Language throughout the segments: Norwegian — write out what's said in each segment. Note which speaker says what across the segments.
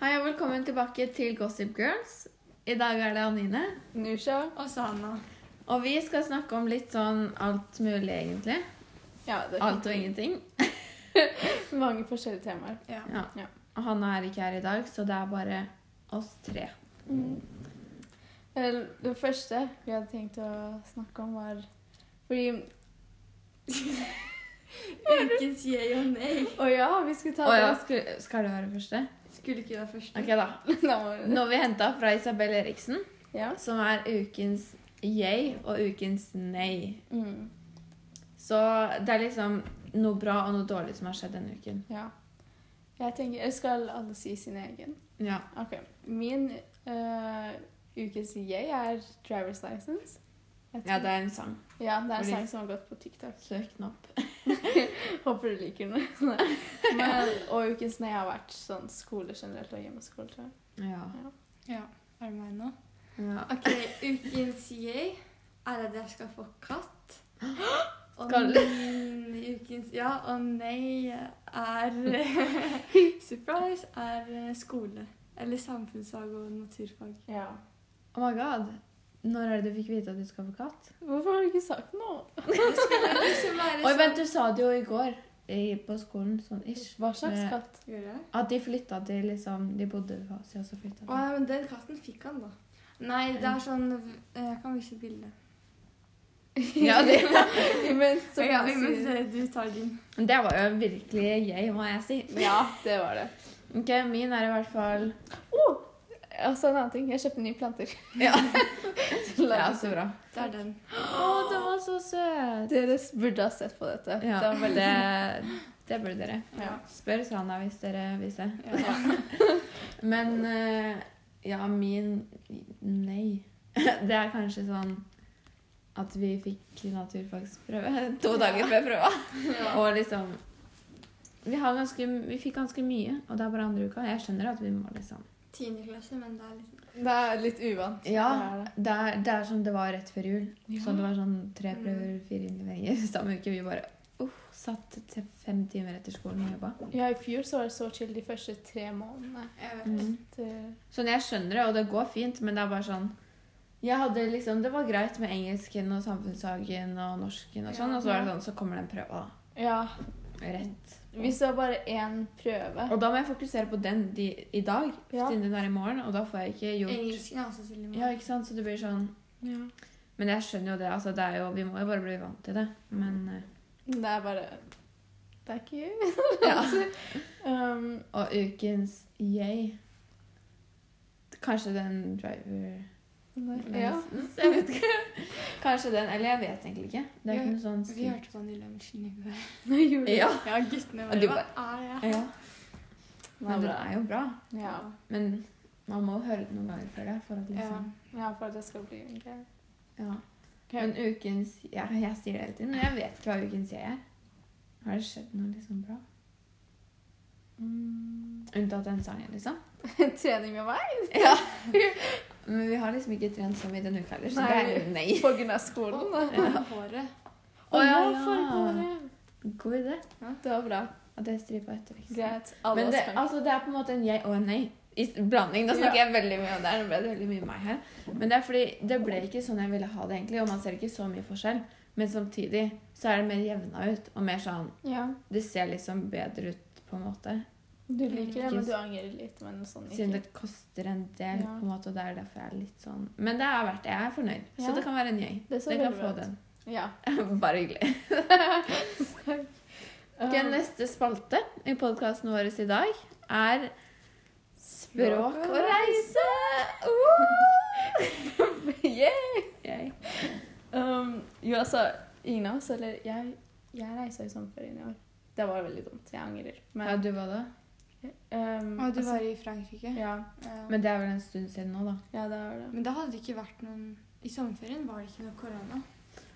Speaker 1: Hei og velkommen tilbake til Gossip Girls. I dag er det Anine.
Speaker 2: Nusha.
Speaker 3: Og så Hanna.
Speaker 1: Og vi skal snakke om litt sånn alt mulig, egentlig.
Speaker 3: Ja, det kan-
Speaker 1: Alt og ingenting.
Speaker 2: Mange forskjellige temaer.
Speaker 3: Ja.
Speaker 1: Ja.
Speaker 2: Ja.
Speaker 1: Og Hanna er ikke her i dag, så det er bare oss tre. Mm.
Speaker 2: Vel, Det første vi hadde tenkt å snakke om, var Fordi
Speaker 3: Ukens jeg og nei.
Speaker 2: Å ja, vi skulle ta
Speaker 1: Å ja,
Speaker 2: det.
Speaker 1: skal, skal du være første?
Speaker 3: Skulle ikke det første.
Speaker 1: Ok, da.
Speaker 2: Da må vi-
Speaker 1: Noe vi henta fra Isabel Eriksen,
Speaker 2: Ja.
Speaker 1: som er ukens yay og ukens nei.
Speaker 2: Mm,
Speaker 1: Så det er liksom noe bra og noe dårlig som har skjedd denne uken.
Speaker 2: ja. Jeg tenker jeg Skal alle si sin egen?
Speaker 1: Ja.
Speaker 2: OK. Min eh, ukes jeg er driver's license. Jeg
Speaker 1: ja,
Speaker 2: tror-
Speaker 1: det er en sang.
Speaker 2: ja, det er en
Speaker 1: fordi-
Speaker 2: sang som har gått på TikTok.
Speaker 1: Søk den opp.
Speaker 2: Håper du liker den. Men, og ukens nei har vært sånn skole generelt og hjemmeskole, tror jeg.
Speaker 1: Ja.
Speaker 3: Ja. Er det meg nå?
Speaker 1: ja.
Speaker 3: Ok, ukens jeg er at jeg skal få katt. Og
Speaker 1: Skal
Speaker 3: min ukens ja og nei er Surprise er eh, skole. Eller samfunnsfag og naturfag.
Speaker 2: Ja.
Speaker 1: Oh my god. Når er det du fikk vite at du skal få katt?
Speaker 2: Hvorfor har du ikke sagt noe?
Speaker 3: Som er
Speaker 1: Oi, vent, du sa det jo i går i, på skolen, sånn ish.
Speaker 2: Hva slags
Speaker 1: Med-
Speaker 2: katt?
Speaker 3: Gjør jeg?
Speaker 1: At de flytta til liksom De bodde ved Asia, og så flytta
Speaker 3: Å,
Speaker 1: de.
Speaker 3: ja, men den katten fikk han, da. Nei, det er sånn Jeg kan vise bilde.
Speaker 1: Ja, det,
Speaker 2: Imens så
Speaker 3: Ja,
Speaker 2: kan du
Speaker 3: men
Speaker 2: si
Speaker 3: eh, du tar din.
Speaker 1: men det var jo virkelig jeg, må jeg si.
Speaker 2: Ja, det var det.
Speaker 1: Ok, Min er i hvert fall
Speaker 2: Oh, altså en annen ting. Jeg kjøpte nye planter.
Speaker 1: Ja, ja
Speaker 2: Til laget.
Speaker 1: så bra.
Speaker 3: Det er den.
Speaker 1: Å, den var så søt!
Speaker 2: Dere burde ha sett på dette.
Speaker 1: Ja,
Speaker 2: Det var veldig...
Speaker 1: det, det burde dere.
Speaker 2: Ja.
Speaker 1: Spør Sana hvis dere vil se.
Speaker 3: Ja.
Speaker 1: Men eh, ja, min Nei. Det er kanskje sånn at vi fikk naturfagsprøve to dager før prøva. Og liksom vi, har ganske, vi fikk ganske mye, og det er bare andre uka. Jeg skjønner at vi må liksom
Speaker 3: Tiendeklasse, men det er litt
Speaker 2: Det er litt uvant.
Speaker 1: Ja, det er, det er sånn det var rett før jul.
Speaker 2: Ja.
Speaker 1: Så det var sånn tre
Speaker 3: Mm.
Speaker 1: prøver, fire innleveringer samme uke. Vi bare uh, satt til fem timer etter skolen og jobba.
Speaker 2: Ja, i fjor så var det så chill de første tre månedene.
Speaker 3: Jeg vet.
Speaker 1: Mm.
Speaker 2: Det-
Speaker 1: Sånn, jeg skjønner det, og det går fint, men det er bare sånn jeg hadde liksom, Det var greit med engelsken og samfunnshagen og norsken og sånn, og så var det sånn, så kommer den prøva da,
Speaker 2: Ja,
Speaker 1: rett.
Speaker 2: hvis det var bare én prøve.
Speaker 1: Og da må jeg fokusere på den de, i dag,
Speaker 2: Mm. Ja.
Speaker 1: siden den er i morgen, og da får jeg ikke gjort
Speaker 3: Engelsken er også veldig
Speaker 1: Ja, ikke sant? Så det blir sånn
Speaker 2: Ja.
Speaker 1: Men jeg skjønner jo det, altså. Det er jo, vi må jo bare bli vant til det. Men eh,
Speaker 2: Det er bare... Det er ikke...
Speaker 1: Ja.
Speaker 2: Um,
Speaker 1: Og ukens yay Kanskje den driver
Speaker 2: det- ja.
Speaker 1: license? Jeg vet ikke. Kanskje den. Eller jeg vet egentlig ikke. Det er
Speaker 3: Vi-
Speaker 1: ikke noe sånn
Speaker 3: Vi hørte på den i lunsjen i går.
Speaker 2: Nå gjorde
Speaker 1: Ja.
Speaker 3: Ja, guttene
Speaker 1: Og du
Speaker 3: bare Hva er jeg?
Speaker 1: ja.
Speaker 2: Det er
Speaker 1: Men den
Speaker 2: bra.
Speaker 1: er jo bra.
Speaker 2: Ja.
Speaker 1: Men man må høre det noen ganger før det. For at
Speaker 3: Ja.
Speaker 1: liksom,
Speaker 2: Ja, for at det skal bli en greie.
Speaker 1: ja.
Speaker 2: Ok.
Speaker 1: Men ukens ja, Jeg sier det hele tiden, men jeg vet ikke hva ukens jeg er. Har det skjedd noe liksom bra?
Speaker 2: Mm.
Speaker 1: Unntatt den sangen, liksom.
Speaker 2: Trening med meg
Speaker 1: Ja. Men vi har liksom ikke trent så mye denne uka heller, så
Speaker 2: Nei.
Speaker 1: det er nei.
Speaker 2: på grunn av skolen.
Speaker 3: Og
Speaker 2: da.
Speaker 3: og håret.
Speaker 1: Å, ja,
Speaker 2: Og
Speaker 1: ja.
Speaker 2: fargehåret.
Speaker 1: God idé.
Speaker 2: Det var bra.
Speaker 1: At jeg stripa etter, liksom.
Speaker 2: Greit. Alle
Speaker 1: Men det,
Speaker 2: oss kan
Speaker 1: altså, det er på en måte en jeg og en nei. I s- blanding. Da snakker jeg veldig mye om det. her, Nå ble det veldig mye meg her. Men det er fordi det ble ikke sånn jeg ville ha det, egentlig. Og man ser ikke så mye forskjell. Men samtidig så er det mer jevna ut. Og mer sånn
Speaker 2: Ja.
Speaker 1: Det ser liksom bedre ut, på en måte.
Speaker 2: Du liker det, men du angrer litt. Men sånn
Speaker 1: Siden
Speaker 2: ikke.
Speaker 1: det koster en del,
Speaker 2: Ja.
Speaker 1: på en måte, og det er derfor jeg er litt sånn Men det er verdt det. Jeg er fornøyd.
Speaker 2: Ja.
Speaker 1: Så det kan være en yay.
Speaker 2: Det så
Speaker 1: Den kan
Speaker 2: veldig
Speaker 1: få
Speaker 2: bra ut.
Speaker 1: den.
Speaker 2: Ja.
Speaker 1: Bare hyggelig. Ok,
Speaker 2: Um,
Speaker 1: neste spalte i podkasten vår i dag er Språk og reise!
Speaker 2: yeah.
Speaker 1: Yay.
Speaker 2: um, jo, altså, ingen av oss, eller jeg, jeg reiste i sommerferien i år. Det var veldig dumt. Jeg angrer.
Speaker 1: Ja,
Speaker 2: Men
Speaker 1: du var det.
Speaker 2: um,
Speaker 3: Og du
Speaker 2: altså,
Speaker 3: var i Frankrike.
Speaker 2: ja,
Speaker 3: Ja.
Speaker 1: Men det er vel en stund siden nå, da.
Speaker 2: ja, det var det.
Speaker 3: Men det hadde ikke vært noen I sommerferien var det ikke noe korona.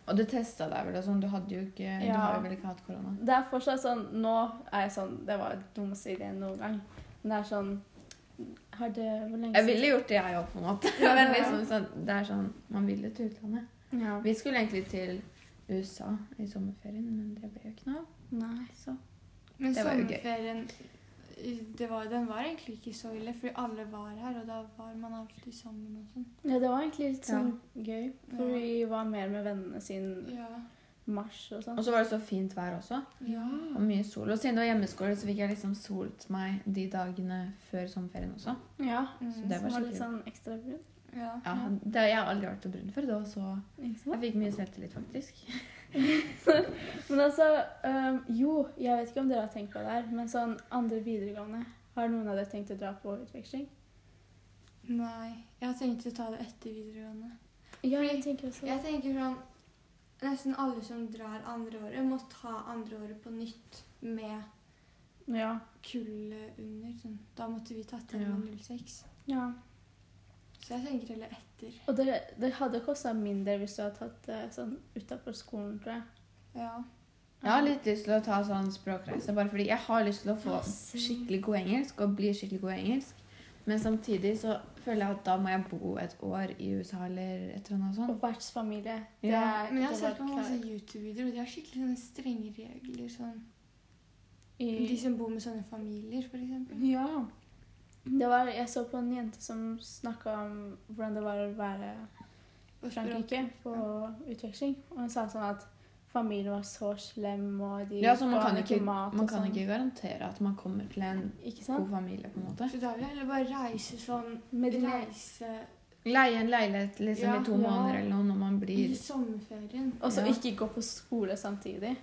Speaker 1: Og du testa deg vel og sånn. Du hadde jo ikke Du
Speaker 2: Ja.
Speaker 1: har jo vel ikke hatt korona.
Speaker 2: Det er fortsatt sånn Nå er jeg sånn Det var dummeste ideen noen gang. Men det er sånn Har det Hvor lenge
Speaker 1: Jeg ville gjort det, jeg òg, på en måte.
Speaker 2: Ja,
Speaker 1: Men
Speaker 2: ja.
Speaker 1: liksom sånn, det er sånn Man vil jo til utlandet.
Speaker 2: Ja.
Speaker 1: Vi skulle egentlig til USA i sommerferien, men det ble jo ikke noe av.
Speaker 2: Nei.
Speaker 1: Så
Speaker 3: Men
Speaker 1: Det var jo gøy.
Speaker 3: sommerferien det var, den var egentlig ikke så ille, fordi alle var her, og da var man alltid sammen og sånn.
Speaker 2: Ja, det var egentlig litt sånn gøy. For vi var mer med vennene siden
Speaker 3: Ja.
Speaker 2: mars og sånn.
Speaker 1: Og så var det så fint vær også.
Speaker 3: ja.
Speaker 1: Og mye sol. Og siden det var hjemmeskole, så fikk jeg liksom solt meg de dagene før sommerferien også.
Speaker 2: Ja.
Speaker 1: Så
Speaker 3: Mm.
Speaker 1: det
Speaker 2: Det
Speaker 1: var
Speaker 2: var, litt
Speaker 1: skikkelig.
Speaker 2: sånn ekstra brun.
Speaker 3: ja.
Speaker 1: Ja, det, jeg har aldri vært så brun før. Det var så
Speaker 2: Ikke sant?
Speaker 1: Jeg fikk mye selvtillit, faktisk.
Speaker 2: Men altså øhm, Jo, jeg vet ikke om dere har tenkt på det her, men sånn andre videregående Har noen av dere tenkt å dra på utveksling?
Speaker 3: Nei. Jeg har tenkt å ta det etter videregående.
Speaker 2: Ja,
Speaker 3: Fordi
Speaker 2: jeg tenker også
Speaker 3: Jeg tenker sånn Nesten alle som drar andre året, må ta andre året på nytt med
Speaker 2: Ja.
Speaker 3: kullet under. Sånn. Da måtte vi tatt den
Speaker 1: Ja.
Speaker 3: med 06.
Speaker 2: ja.
Speaker 3: Så jeg tenker heller etter.
Speaker 2: Og det, det hadde kosta mindre hvis du hadde tatt det sånn utafor skolen, tror jeg.
Speaker 3: Ja.
Speaker 1: Jeg har litt lyst til å ta sånn språkreise, bare fordi jeg har lyst til å få
Speaker 2: Ja, same.
Speaker 1: skikkelig god engelsk og bli skikkelig god i engelsk. Men samtidig så føler jeg at da må jeg bo et år i USA eller et eller annet
Speaker 2: Og
Speaker 1: sånt.
Speaker 2: vertsfamilie. det
Speaker 1: Ja,
Speaker 2: er
Speaker 3: Men
Speaker 2: ikke
Speaker 3: jeg har sett på
Speaker 2: bare
Speaker 3: masse
Speaker 2: klær.
Speaker 3: YouTube-videoer, og de har skikkelig sånne strenge regler. Sånn. De
Speaker 2: I,
Speaker 3: som bor med sånne familier, for eksempel.
Speaker 2: ja. Det var, jeg så på en jente som snakka om hvordan det var å være
Speaker 3: Og
Speaker 2: i Frankrike på utveksling. Og hun sa sånn at familien var så slem, og de
Speaker 1: Ja, så man
Speaker 2: ga
Speaker 1: kan
Speaker 2: henne
Speaker 1: ikke,
Speaker 2: mat
Speaker 1: man
Speaker 2: og
Speaker 1: kan
Speaker 2: sånn.
Speaker 1: ikke garantere at man kommer til en
Speaker 2: Ikke
Speaker 1: god
Speaker 2: sant?
Speaker 1: familie, på en måte.
Speaker 3: Så da vil jeg heller bare reise sånn
Speaker 2: Med de le-
Speaker 3: Reise
Speaker 1: Leie en leilighet liksom
Speaker 3: Ja.
Speaker 1: i to
Speaker 2: Ja.
Speaker 1: måneder eller noe når man
Speaker 3: i
Speaker 1: blir
Speaker 3: sommerferien.
Speaker 2: Og så
Speaker 1: Ja.
Speaker 2: ikke gå på skole samtidig.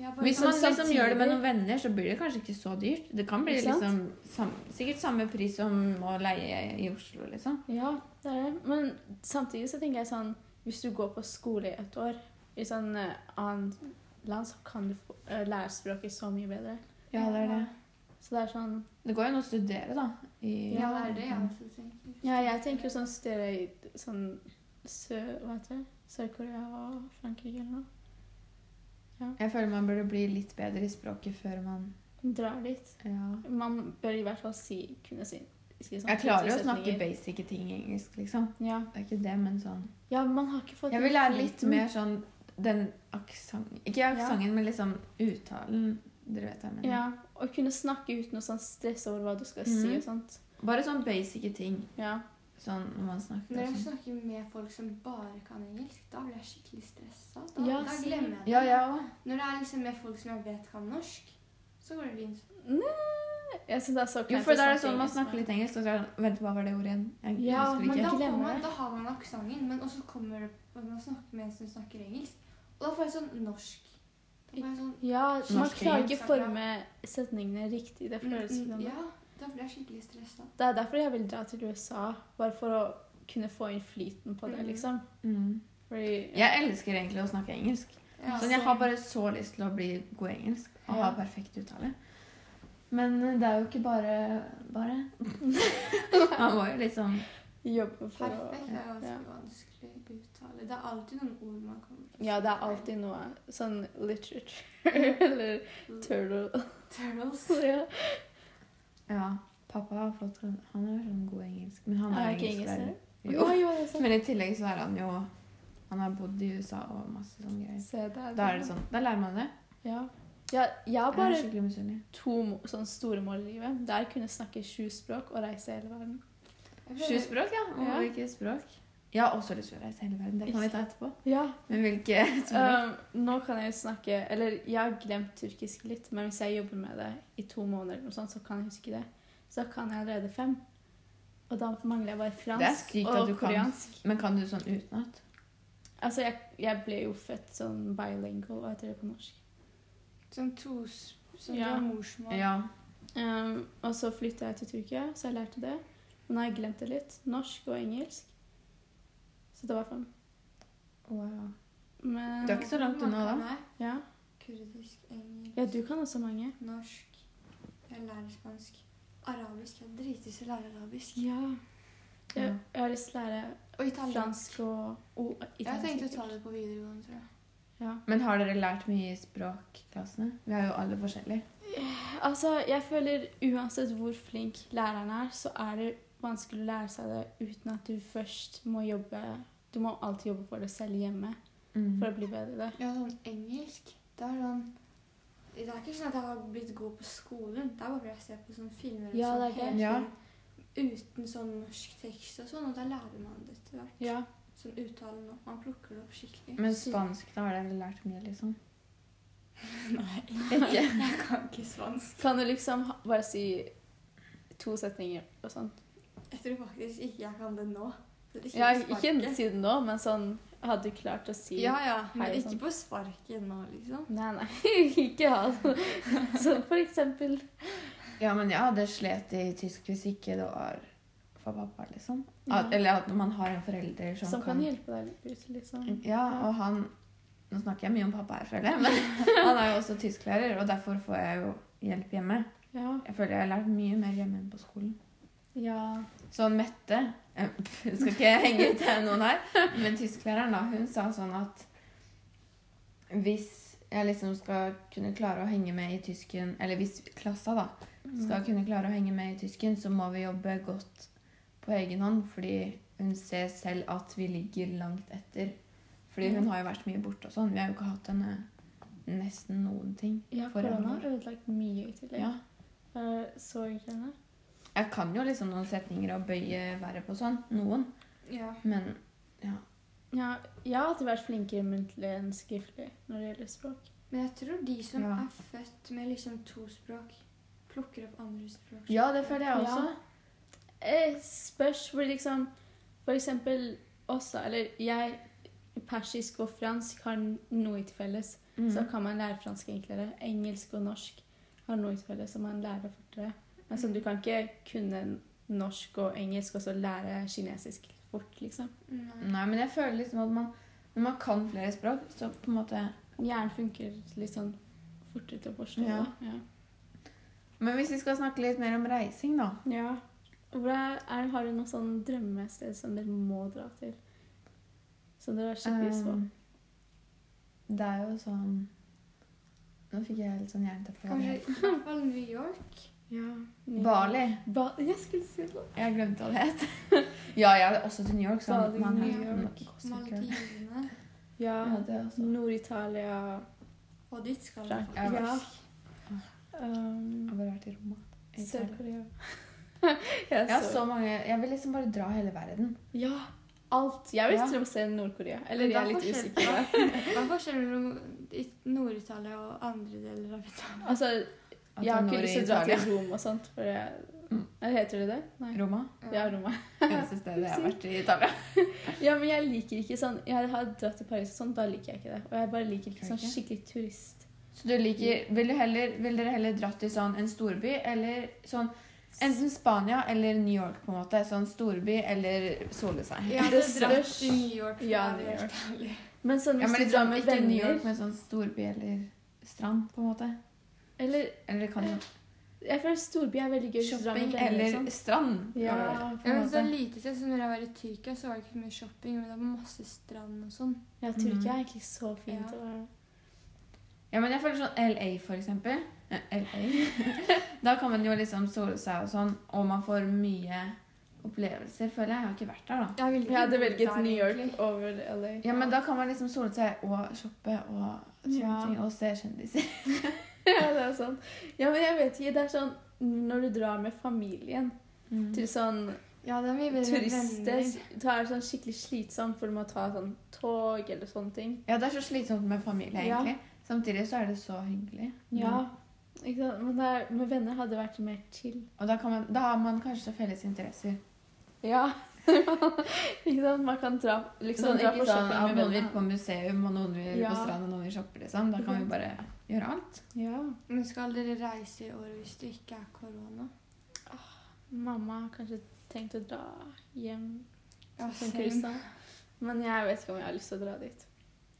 Speaker 3: Ja, bare
Speaker 1: Hvis
Speaker 3: sånn
Speaker 1: man liksom
Speaker 2: samtidig-
Speaker 1: gjør det med noen venner, så blir det kanskje ikke så dyrt. Det kan bli
Speaker 2: Ikke sant?
Speaker 1: liksom sam, sikkert samme pris som å leie i Oslo, liksom.
Speaker 2: Ja, det er det. Men samtidig så tenker jeg sånn Hvis du går på skole i et år i sånn eh, annet land, så kan du få, eh, lære språket så mye bedre.
Speaker 1: Ja, det er det.
Speaker 2: Så det er sånn
Speaker 1: Det går jo an å studere, da. I,
Speaker 3: Ja, det er det jeg også tenker.
Speaker 2: Ja, jeg tenker jo sånn studere i sånn sø... Hva heter det? Sør-Korea og Frankrike eller noe.
Speaker 1: Jeg føler man burde bli litt bedre i språket før man
Speaker 2: Drar dit.
Speaker 1: ja.
Speaker 2: Man bør i hvert fall si kunne si, si sånn
Speaker 1: Jeg klarer jo å
Speaker 2: 30
Speaker 1: snakke
Speaker 2: setninger.
Speaker 1: basic ting i engelsk, liksom.
Speaker 2: Ja.
Speaker 1: Det er ikke det, men sånn
Speaker 2: ja, man har ikke fått
Speaker 1: Jeg vil lære litt
Speaker 2: flyten.
Speaker 1: mer sånn den aksenten Ikke aksenten, men liksom uttalen. Dere vet hva jeg mener.
Speaker 2: Ja, Å kunne snakke uten å sånn stresse over hva du skal si
Speaker 1: Mhm.
Speaker 2: og sånt.
Speaker 1: Bare sånn basic ting.
Speaker 2: Ja.
Speaker 1: Sånn når man snakker.
Speaker 3: Når
Speaker 1: og
Speaker 3: jeg
Speaker 1: sånn.
Speaker 3: snakker med folk som bare kan engelsk, da blir jeg skikkelig stressa. Da,
Speaker 2: Ja,
Speaker 3: da
Speaker 2: same.
Speaker 3: glemmer jeg det.
Speaker 1: Ja, jeg òg.
Speaker 3: Når det er liksom med folk som jeg vet kan norsk, så går det fint.
Speaker 2: Nei, jeg synes det er så
Speaker 1: Jo, for da er det sånn man snakker litt engelsk, og så er det sånn, vent, hva var det ordet igjen? Jeg
Speaker 2: Ja,
Speaker 1: husker ikke.
Speaker 3: men da,
Speaker 2: Jeg
Speaker 3: får
Speaker 2: glemmer
Speaker 3: man,
Speaker 2: det.
Speaker 3: da har man aksenten, men også kommer det at man snakker med en som snakker engelsk. Og da får jeg sånn norsk. Da får jeg sånn
Speaker 2: Ja, man
Speaker 1: Norsk
Speaker 2: klarer
Speaker 3: engelsk,
Speaker 2: ikke forme setningene riktig. Det føles
Speaker 3: mm,
Speaker 2: som
Speaker 3: mm, Ja, da blir jeg skikkelig stressa.
Speaker 2: Det er derfor jeg vil dra til USA. Bare for å kunne få inn flyten på det,
Speaker 3: Mhm.
Speaker 2: liksom.
Speaker 1: Mm.
Speaker 2: Fordi
Speaker 1: Jeg elsker egentlig å snakke engelsk.
Speaker 3: Ja,
Speaker 1: Sånn, jeg har bare så lyst til å bli god i engelsk og ha
Speaker 2: Ja.
Speaker 1: perfekt uttale. Men eh, det er jo ikke bare bare. Man må jo liksom
Speaker 2: jobbe for
Speaker 3: Perfekt. Det er ganske
Speaker 2: Ja.
Speaker 3: vanskelig å uttale. Det er alltid noen ord man kommer
Speaker 2: å Ja, det er alltid noe sånn literature eller turtle.
Speaker 3: Turtles.
Speaker 2: Så ja.
Speaker 1: Ja. Pappa har fått Han er sånn god i engelsk, men han
Speaker 2: Er
Speaker 1: er,
Speaker 2: jeg ikke
Speaker 1: engelsklærer.
Speaker 2: engelsk?
Speaker 1: Jo.
Speaker 2: Oi, jo, det er sant.
Speaker 1: Men i tillegg så er han jo Han har bodd i USA og masse sånne greier.
Speaker 2: Se, der,
Speaker 1: Da er det sånn, da lærer man det.
Speaker 2: Ja. ja jeg har
Speaker 1: Jeg er sånn-
Speaker 2: bare
Speaker 1: skikkelig misunnelig.
Speaker 2: to må- sånn store mål i livet. Det er å kunne snakke sju språk og reise hele verden.
Speaker 3: Jeg
Speaker 1: Sju
Speaker 3: føler-
Speaker 1: språk, ja. Og
Speaker 2: Ja.
Speaker 1: hvilke språk? Jeg har også lyst til å reise hele verden. Det kan vi ta etterpå.
Speaker 2: Ja.
Speaker 1: Men hvilke språk?
Speaker 2: Um, nå kan jeg jo snakke Eller jeg har glemt turkisk litt, men hvis jeg jobber med det i to måneder, eller noe sånt, så kan jeg huske det. Så da kan jeg allerede fem. Og da mangler jeg bare
Speaker 1: Det er
Speaker 2: fransk
Speaker 1: sykt at
Speaker 2: og
Speaker 1: du kan-
Speaker 2: koreansk.
Speaker 1: Men kan du sånn utenat?
Speaker 2: Altså, jeg, jeg ble jo født sånn bilingual, hva heter det på norsk?
Speaker 3: Sånn tos... Sånn
Speaker 2: Ja.
Speaker 3: du har morsmål.
Speaker 1: Ja.
Speaker 2: Um, og så flytta jeg til Tyrkia, så jeg lærte det. Men nå har jeg glemt det litt. Norsk og engelsk. Så det var fem.
Speaker 1: Wow.
Speaker 2: Men
Speaker 1: Du er ikke så langt unna, da.
Speaker 3: Nei.
Speaker 2: ja.
Speaker 3: Kurdisk, engelsk,
Speaker 2: ja, du kan også mange.
Speaker 3: norsk Jeg lærer spansk. Arabisk. Jeg driter i å lære arabisk.
Speaker 2: Ja.
Speaker 1: Ja.
Speaker 2: Jeg, jeg har lyst til å lære
Speaker 3: Og italiensk.
Speaker 2: fransk og, og italiensk.
Speaker 3: Jeg har tenkt å
Speaker 2: sikkert.
Speaker 3: ta det på videregående, tror jeg.
Speaker 2: Ja.
Speaker 1: Men har dere lært mye i språkklassene? Vi er jo alle forskjellige.
Speaker 2: Altså, jeg føler uansett hvor flink læreren er, så er det vanskelig å lære seg det uten at du først må jobbe Du må alltid Mm. jobbe for det selv hjemme for å bli bedre i det.
Speaker 3: Ja, sånn engelsk. Det er sånn Det er ikke sånn at jeg har blitt god på skolen. Det er bare fordi jeg ser på sånne filmer og
Speaker 2: Ja,
Speaker 3: sånn
Speaker 2: det er
Speaker 3: hele
Speaker 1: det. Ja.
Speaker 3: tiden. uten sånn norsk tekst og sånn, og da lærer man det etter hvert.
Speaker 2: Ja.
Speaker 3: Sånn uttalen og Man plukker det opp skikkelig.
Speaker 1: Men spansk, da har dere lært mye, liksom?
Speaker 3: Nei,
Speaker 1: Ikke?
Speaker 3: jeg kan ikke svansk.
Speaker 2: Kan du liksom ha- bare si to setninger og sånn?
Speaker 3: Jeg tror faktisk ikke jeg kan det nå. Så det er
Speaker 2: Ja,
Speaker 3: på
Speaker 2: ikke
Speaker 3: sparket.
Speaker 2: si det nå, men sånn Hadde du klart å si
Speaker 3: Ja, ja.
Speaker 2: Hei,
Speaker 3: Men ikke
Speaker 2: sånn.
Speaker 3: på sparket nå, liksom.
Speaker 2: Nei, nei. Ikke ha det. Sånn for eksempel.
Speaker 1: Ja, men jeg hadde slet i tysk hvis ikke det var for pappa, liksom.
Speaker 2: Ja.
Speaker 1: At, eller at man har en forelder som,
Speaker 2: mm, Som kan hjelpe deg litt ut, liksom.
Speaker 1: Ja, og han Nå snakker jeg mye om pappa her, føler jeg, men han er jo også tysklærer, og derfor får jeg jo hjelp hjemme.
Speaker 2: Ja.
Speaker 1: Jeg føler jeg har lært mye mer hjemme enn på skolen.
Speaker 2: ja.
Speaker 1: Sånn Mette eh, pff, Jeg skal ikke henge ut noen her, men tysklæreren da, hun sa sånn at hvis jeg liksom skal kunne klare å henge med i tysken Eller hvis klassa da skal kunne klare å henge med i tysken, så må vi jobbe godt på egen hånd. Fordi hun ser selv at vi ligger langt etter. Fordi hun har jo vært mye borte og sånn. Vi har jo ikke hatt henne nesten noen ting.
Speaker 2: Ja,
Speaker 1: for en
Speaker 2: korona
Speaker 1: år.
Speaker 2: har ødelagt mye i tillegg.
Speaker 1: Ja.
Speaker 2: Eh, Så egentlig henne.
Speaker 1: Jeg kan jo liksom noen setninger og bøye verb og sånn. Noen.
Speaker 3: Ja.
Speaker 1: Men
Speaker 2: Ja, jeg har alltid vært flinkere muntlig enn skriftlig når det gjelder språk.
Speaker 3: Men jeg tror de som
Speaker 1: Ja.
Speaker 3: er født med liksom to språk, plukker opp andre språk.
Speaker 1: Ja, det føler jeg
Speaker 2: Ja.
Speaker 1: også.
Speaker 2: Eh, spørs hvor liksom For eksempel oss, da. Eller jeg Persisk og fransk har noe til felles.
Speaker 1: Mm.
Speaker 2: Så kan man lære fransk enklere. Engelsk og norsk har noe til felles, så man lærer fortere. Men sånn, du kan ikke kunne norsk og engelsk og så lære kinesisk fort, liksom.
Speaker 3: Nei.
Speaker 1: Nei, men jeg føler liksom at man, når man kan flere språk, så på en måte
Speaker 2: Hjernen funker litt sånn fortere til å forstå.
Speaker 1: Ja.
Speaker 2: da. Ja.
Speaker 1: Men hvis vi skal snakke litt mer om reising, da.
Speaker 2: Ja. Hvor er, er, har du noe sånn drømmested som dere må dra til? Som dere har skikkelig lyst på?
Speaker 1: Ehm, det er jo sånn Nå fikk jeg helt sånn jernteppe. over
Speaker 3: Kanskje
Speaker 1: det.
Speaker 3: i hvert fall New York.
Speaker 2: Ja.
Speaker 1: Bali.
Speaker 2: Ba jeg skulle si det.
Speaker 1: Jeg glemte hva det het. ja, jeg hadde også til New York. Sånn,
Speaker 2: Bali,
Speaker 1: man
Speaker 2: New
Speaker 1: er-
Speaker 2: York,
Speaker 1: Costa Rica.
Speaker 3: Maldivene.
Speaker 2: Ja.
Speaker 1: Ja, det er også.
Speaker 2: Nord-Italia.
Speaker 3: Og dit skal vi.
Speaker 2: Frank-
Speaker 1: Ja.
Speaker 2: Ja.
Speaker 1: Jeg har
Speaker 2: Um,
Speaker 1: bare vært i Roma. I Italia.
Speaker 2: Sør-Korea.
Speaker 1: Jeg har så mange Jeg vil liksom bare dra hele verden.
Speaker 2: Ja, alt. Jeg vil
Speaker 1: Ja.
Speaker 2: til og med se Nord-Korea. Eller
Speaker 3: Men
Speaker 2: jeg er
Speaker 3: det er
Speaker 2: litt
Speaker 3: forskjell.
Speaker 2: usikker. da.
Speaker 3: Hva er forskjellen mellom i- Nord-Italia og andre deler av Italia?
Speaker 2: Altså,
Speaker 1: At
Speaker 2: jeg har
Speaker 1: nord
Speaker 2: ikke
Speaker 1: i
Speaker 2: lyst til å dra
Speaker 1: Italia.
Speaker 2: til Rom og sånt, for jeg
Speaker 1: Mm.
Speaker 2: Eller Heter det det? Nei.
Speaker 1: Roma.
Speaker 2: Ja, Roma.
Speaker 1: Eneste stedet jeg har vært i Italia.
Speaker 2: Ja, men jeg liker ikke sånn Jeg har dratt til Paris og sånn, da liker jeg ikke det. Og jeg bare liker ikke
Speaker 1: Gjør
Speaker 2: sånn
Speaker 1: ikke?
Speaker 2: skikkelig turist.
Speaker 1: Så du liker Vil, du heller, vil dere heller dra til sånn en storby eller sånn Enten Spania eller New York, på en måte. Sånn storby eller sole seg.
Speaker 3: Jeg hadde
Speaker 2: Det
Speaker 3: dratt
Speaker 2: største-
Speaker 3: til New York. for
Speaker 2: Ja,
Speaker 3: å være
Speaker 2: New York.
Speaker 3: helt ærlig.
Speaker 2: Men sånn
Speaker 1: Ja,
Speaker 2: hvis
Speaker 1: men
Speaker 2: du drar
Speaker 1: liksom,
Speaker 2: med
Speaker 1: ikke New York,
Speaker 2: venner
Speaker 1: men sånn storby eller strand, på en måte.
Speaker 2: Eller
Speaker 1: Eller det kan
Speaker 2: Eh,
Speaker 1: jo
Speaker 2: jeg føler storby er veldig gøy hvis du drar
Speaker 1: shopping
Speaker 2: med venner.
Speaker 1: eller
Speaker 2: og sånt.
Speaker 1: strand.
Speaker 2: liksom. Ja,
Speaker 1: på
Speaker 3: Ja,
Speaker 1: en
Speaker 3: men så
Speaker 1: måte.
Speaker 3: lite sted, så når jeg var i Tyrkia, så var det ikke så mye shopping, men det var masse strand og sånn.
Speaker 2: ja, Tyrkia
Speaker 1: Mm.
Speaker 2: er egentlig så fint.
Speaker 3: Ja.
Speaker 2: å være-
Speaker 1: Ja, men jeg føler sånn LA, for eksempel. Eh, LA. da kan man jo liksom sole seg og sånn, og man får mye opplevelser, føler jeg. Jeg har ikke vært der, da.
Speaker 3: Jeg ville ikke
Speaker 2: Jeg hadde
Speaker 3: bo
Speaker 2: velget
Speaker 3: der,
Speaker 2: New
Speaker 3: egentlig.
Speaker 2: York over LA.
Speaker 1: Ja, men da kan man liksom sole seg og shoppe og sånne
Speaker 2: Ja.
Speaker 1: ting, og se kjendiser.
Speaker 2: Ja, det er sant. Ja, men jeg vet ikke. Det er sånn når du drar med familien til sånn
Speaker 3: Ja, det er mye bedre med
Speaker 2: turister,
Speaker 3: venner.
Speaker 2: så er det sånn skikkelig slitsomt, for du må ta sånn tog eller sånne ting.
Speaker 1: Ja, det er så slitsomt med familie,
Speaker 2: Ja.
Speaker 1: egentlig. Samtidig så er det så hyggelig.
Speaker 2: Ikke sant? Men det er, med venner hadde det vært mer chill.
Speaker 1: Og da, kan man, da har man kanskje felles interesser.
Speaker 2: Ja. ikke sant? Man kan dra, liksom,
Speaker 1: Sånn,
Speaker 2: dra
Speaker 1: ikke
Speaker 2: på
Speaker 1: sånn at
Speaker 2: shopping med
Speaker 1: noen vil på
Speaker 2: venner.
Speaker 1: museum, og noen vil
Speaker 2: Ja.
Speaker 1: på stranden, og noen vil shoppe, liksom. Da kan vi bare gjøre alt.
Speaker 2: Ja.
Speaker 3: Men skal dere reise i år hvis det ikke er korona?
Speaker 2: Mamma har kanskje tenkt å dra hjem
Speaker 3: Ja,
Speaker 2: til Kristian. Men jeg vet ikke om jeg har lyst til å dra dit.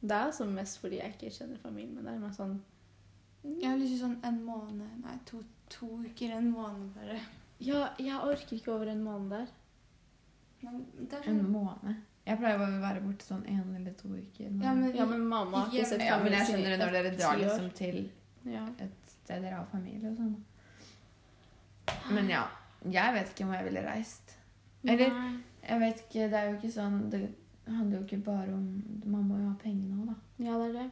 Speaker 2: Det er altså mest fordi jeg ikke kjenner familien, men det er mer sånn
Speaker 3: Jeg har lyst til sånn en måned Nei, to, to uker, en måned bare.
Speaker 2: Ja, jeg orker ikke over en måned der.
Speaker 3: Men det er
Speaker 1: En
Speaker 3: sånn
Speaker 1: måned. Jeg pleier bare å være borte sånn en eller to uker. nå.
Speaker 3: Ja, men,
Speaker 2: Ja, men mamma har
Speaker 3: Ja,
Speaker 2: ikke sett
Speaker 1: ja, men
Speaker 2: familien
Speaker 1: jeg
Speaker 2: sin i
Speaker 1: skjønner det når dere
Speaker 2: ti
Speaker 1: drar
Speaker 2: år.
Speaker 1: liksom til
Speaker 2: Ja.
Speaker 1: et sted dere har familie og sånn. Men ja, jeg vet ikke om jeg ville reist. Eller-
Speaker 2: Nei.
Speaker 1: Jeg vet ikke, det er jo ikke sånn det Det handler jo ikke bare om Man må jo ha pengene òg, da.
Speaker 2: Ja, det er det.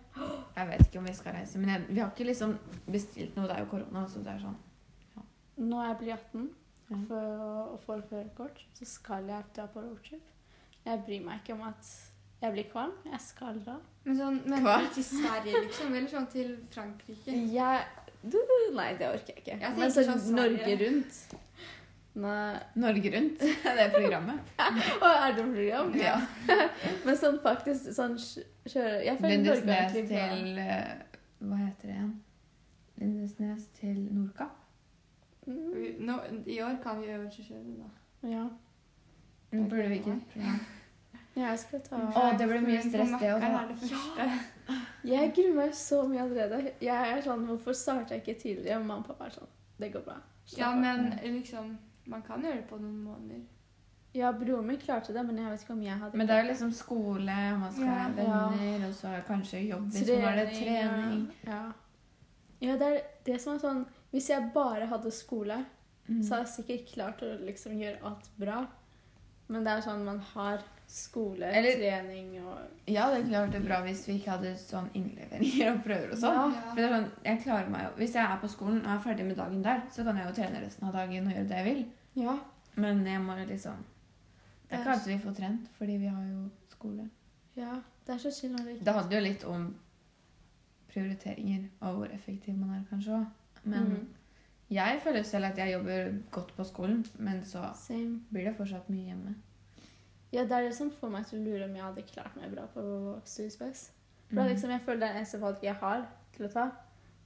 Speaker 1: Jeg vet ikke om vi skal reise, men jeg, vi har ikke liksom bestilt noe. Det er jo korona, så det er sånn.
Speaker 2: Når jeg blir 18
Speaker 1: Ja.
Speaker 2: og får- og får førerkort, så skal jeg dra på roadtrip. Jeg bryr meg ikke om at jeg blir kvalm. Jeg skal dra.
Speaker 3: Men sånn, men
Speaker 1: Hva?
Speaker 3: til Sverige, liksom? Eller sånn til Frankrike?
Speaker 2: Jeg du, Nei, det orker jeg ikke.
Speaker 3: Jeg
Speaker 2: Men
Speaker 3: tenker
Speaker 2: så
Speaker 3: sånn Sverige.
Speaker 2: Norge rundt Nei.
Speaker 1: Norge Rundt, det er programmet.
Speaker 2: Å, er det noe program?
Speaker 1: Ja.
Speaker 2: Men sånn faktisk sånn kj- kjøre Jeg føler Norge er
Speaker 1: Lindesnes
Speaker 2: egentlig bra.
Speaker 1: til eh, Hva heter det igjen? Lindesnes til Nordkapp?
Speaker 2: Mm,
Speaker 3: Vi- Nå, I år kan vi øvelseskjøre, da.
Speaker 2: Ja.
Speaker 1: Men Mm, Burde vi ikke program?
Speaker 2: ja, jeg skal ta
Speaker 1: Å, det blir mye stress, det å
Speaker 3: Makkeren
Speaker 1: ta.
Speaker 3: er det første.
Speaker 2: Jeg gruer meg så mye allerede. Jeg er sånn, Hvorfor starta jeg ikke tidligere? Mamma og pappa er sånn Det går bra. Slapp
Speaker 3: Ja,
Speaker 2: av.
Speaker 3: men liksom Man kan gjøre det på noen måneder.
Speaker 2: ja, broren min klarte det, men jeg vet ikke om jeg hadde
Speaker 1: Men det er jo liksom skole, og man skal
Speaker 3: Ja.
Speaker 1: ha venner, og så kanskje jobb hvis man har det. Trening.
Speaker 2: Ja. ja, det er det som er sånn Hvis jeg bare hadde skole,
Speaker 1: Mm.
Speaker 2: så hadde jeg sikkert klart å liksom gjøre alt bra. Men det er sånn man har skole,
Speaker 1: Eller-
Speaker 2: trening og
Speaker 1: Ja, det er klart det er bra hvis vi ikke hadde sånn innleveringer og prøver og sånn.
Speaker 2: Ja.
Speaker 1: For det er sånn, jeg klarer meg jo. Hvis jeg er på skolen og er ferdig med dagen der, så kan jeg jo trene resten av dagen og gjøre det jeg vil.
Speaker 2: Ja.
Speaker 1: Men jeg må jo liksom Det er
Speaker 2: Det
Speaker 1: ikke
Speaker 2: er-
Speaker 1: alltid vi får trent, fordi vi har jo skole.
Speaker 2: ja. Det er så chill når det ikke
Speaker 1: Det handler jo litt om prioriteringer og hvor effektiv man er, kanskje òg. Men
Speaker 2: Mhm.
Speaker 1: jeg føler selv at jeg jobber godt på skolen, men så
Speaker 2: Same.
Speaker 1: blir det fortsatt mye hjemme.
Speaker 2: Ja, det er det som får meg til å lure om jeg hadde klart meg bra på studiespes. For
Speaker 1: Mm.
Speaker 2: det er liksom, jeg føler det er det eneste valget jeg har til å ta.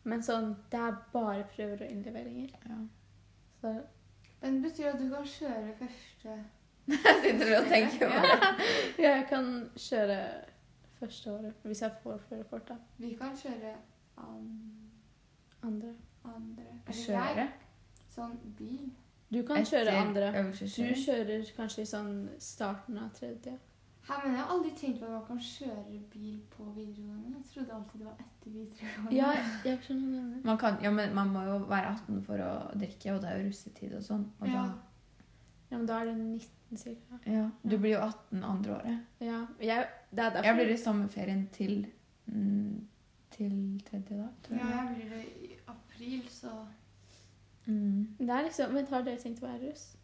Speaker 2: Men sånn, det er bare prøver og innleveringer.
Speaker 1: Ja.
Speaker 2: Så
Speaker 3: Men det betyr at du kan kjøre første
Speaker 1: Jeg sitter og tenker på det.
Speaker 2: jeg kan kjøre første året hvis jeg får førerkort, da.
Speaker 3: Vi kan kjøre an,
Speaker 2: Andre.
Speaker 3: andre Eller jeg.
Speaker 1: Kjøre.
Speaker 3: Sånn bil.
Speaker 2: Du kan kjøre andre. Du
Speaker 1: øvelseskjøring.
Speaker 2: kjører kanskje i sånn starten av tredje.
Speaker 3: Her mener jeg har aldri tenkt på at man kan kjøre bil på videregående. Jeg trodde alltid det var etter videregående.
Speaker 2: Ja, jeg skjønner hva du mener.
Speaker 1: Man, kan, ja, men man må jo være 18 for å drikke, og det er jo russetid og sånn. Og
Speaker 3: Ja.
Speaker 1: da,
Speaker 2: Ja, men da er det 19 cirka.
Speaker 1: ja, du blir jo 18 andre året.
Speaker 2: Ja, jeg, det er derfor.
Speaker 1: Jeg blir i sommerferien til, mm, til tredje dag, tror
Speaker 3: Ja,
Speaker 1: jeg.
Speaker 3: jeg blir det i april, så
Speaker 1: Mm.
Speaker 2: Det er liksom, men har dere tenkt å være russ?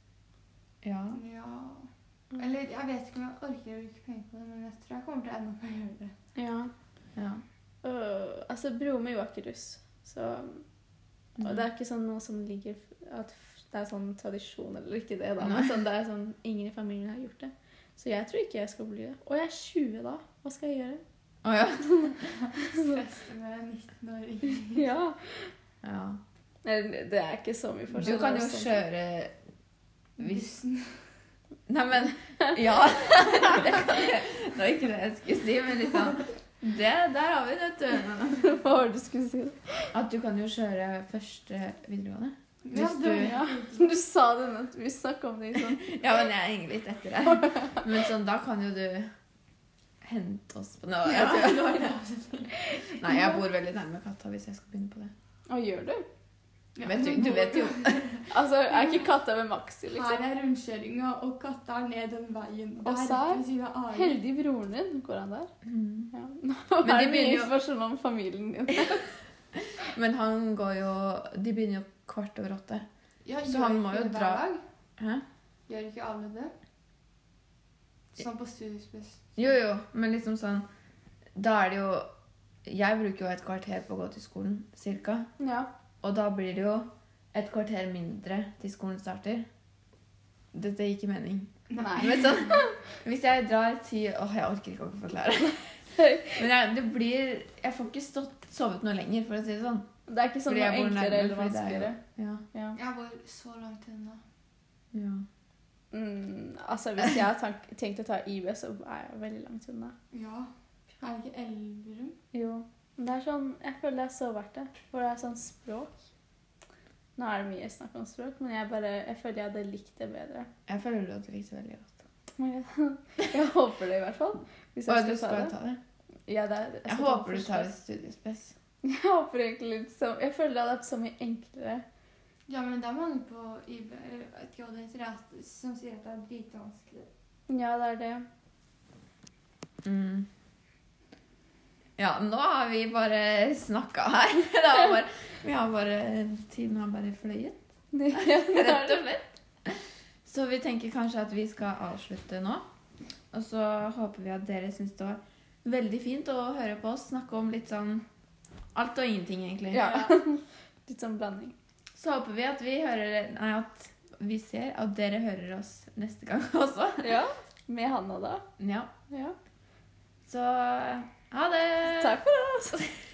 Speaker 1: Ja.
Speaker 3: ja. Eller jeg vet ikke om jeg orker å bruke penger på det, men jeg tror jeg kommer til å ende opp med å gjøre det.
Speaker 2: Ja.
Speaker 1: ja.
Speaker 2: Øh, altså, broren min var ikke russ, så
Speaker 1: Mm.
Speaker 2: Og det er ikke sånn noe som ligger At det er sånn tradisjon eller ikke det, da. Men sånn, det er sånn Ingen i familien har gjort det. Så jeg tror ikke jeg skal bli det. Og jeg er 20 da. Hva skal jeg gjøre?
Speaker 1: Å, ja.
Speaker 3: Feste med 19-åringer.
Speaker 2: Ja.
Speaker 1: ja.
Speaker 2: Eller det er ikke så mye
Speaker 1: Du
Speaker 2: forskjell.
Speaker 1: kan
Speaker 2: det
Speaker 1: jo
Speaker 2: er sånn-
Speaker 1: kjøre hvis
Speaker 3: Bussen.
Speaker 1: Nei, men Ja. Det, kan jeg- det var ikke det jeg skulle si, men liksom det, Der har vi det, vet du.
Speaker 2: Hva var det du skulle si?
Speaker 1: At du kan jo kjøre første videregående.
Speaker 3: Ja,
Speaker 1: Hvis
Speaker 3: det
Speaker 1: du-
Speaker 2: Ja.
Speaker 3: var-
Speaker 2: Du sa det nå. Vi snakka om det i sånn
Speaker 1: Ja, men jeg henger litt etter deg. Men sånn, da kan jo du hente oss på noe. Jeg tror- Nei, jeg bor veldig nærme katta hvis jeg skal begynne på det.
Speaker 2: Hva gjør du?
Speaker 1: Vet du, du vet jo
Speaker 2: Altså, er ikke katta ved Maxi, liksom?
Speaker 3: Her er rundkjøringa, og katta er ned den veien.
Speaker 2: Og
Speaker 3: Det er
Speaker 2: så er
Speaker 3: rett ved siden av Ari.
Speaker 2: Heldig broren din. Går han der?
Speaker 1: Mm.
Speaker 2: Ja. Nå
Speaker 1: Men de
Speaker 2: er det mye
Speaker 1: begynner jo-
Speaker 2: informasjon om familien din.
Speaker 1: Men han går jo De begynner jo kvart over åtte.
Speaker 3: Ja,
Speaker 1: Så
Speaker 3: gjør
Speaker 1: han må jo
Speaker 3: ikke det hver
Speaker 1: dra-
Speaker 3: dag?
Speaker 1: Hæ?
Speaker 3: Gjør ikke alle det? Sånn på studiespes.
Speaker 1: Jo, jo, men liksom sånn Da er det jo Jeg bruker jo et kvarter på å gå til skolen, cirka.
Speaker 2: Ja.
Speaker 1: Og da blir det jo et kvarter mindre til skolen starter. Dette gir ikke mening.
Speaker 2: Nei.
Speaker 1: Men sånn, hvis jeg drar ti Åh, jeg orker ikke å forklare. Men jeg, det blir Jeg får ikke stått, sovet noe lenger, for å si det sånn.
Speaker 2: Det er ikke sånn
Speaker 1: Fordi
Speaker 2: noe
Speaker 1: jeg bor nærme,
Speaker 2: enklere eller
Speaker 1: fordi det er jo-
Speaker 2: vanskeligere.
Speaker 1: Ja.
Speaker 2: Ja.
Speaker 3: Jeg bor så langt unna.
Speaker 1: ja.
Speaker 2: Mm, altså Hvis jeg har tank- tenkt å ta IB, så er jeg veldig langt unna.
Speaker 3: Ja. Er det ikke Elverum?
Speaker 2: Jo. Men det er sånn, jeg føler det er så verdt det. For det er sånn språk. Nå er det mye snakk om språk, men jeg bare, jeg føler jeg hadde likt det bedre.
Speaker 1: Jeg føler at du likte det veldig godt.
Speaker 2: Jeg håper det i hvert fall. Hvis
Speaker 1: Og du
Speaker 2: jeg skal ta det.
Speaker 1: ta det?
Speaker 2: Ja, det er,
Speaker 1: Jeg
Speaker 2: skal ta
Speaker 1: håper du
Speaker 2: første.
Speaker 1: tar et studiespes.
Speaker 2: Jeg håper egentlig litt så, Jeg føler det hadde vært så mye enklere.
Speaker 3: Ja, men det er mange på IB eller jeg vet ikke hva det heter, jeg, som sier at det er dritvanskelig.
Speaker 2: Ja, det er det.
Speaker 1: Mm. Ja, nå har vi bare snakka her. Det var bare, vi har bare Tiden har bare fløyet, rett og slett. Så vi tenker kanskje at vi skal avslutte nå. Og så håper vi at dere syns det var veldig fint å høre på oss snakke om litt sånn alt og ingenting, egentlig.
Speaker 2: Ja. Litt sånn blanding.
Speaker 1: Så håper vi at vi hører Nei, at vi ser at dere hører oss neste gang også.
Speaker 2: Ja. Med Hanna, da.
Speaker 1: Ja.
Speaker 2: Ja.
Speaker 1: Så ha det! Eh,
Speaker 2: Takk for oss.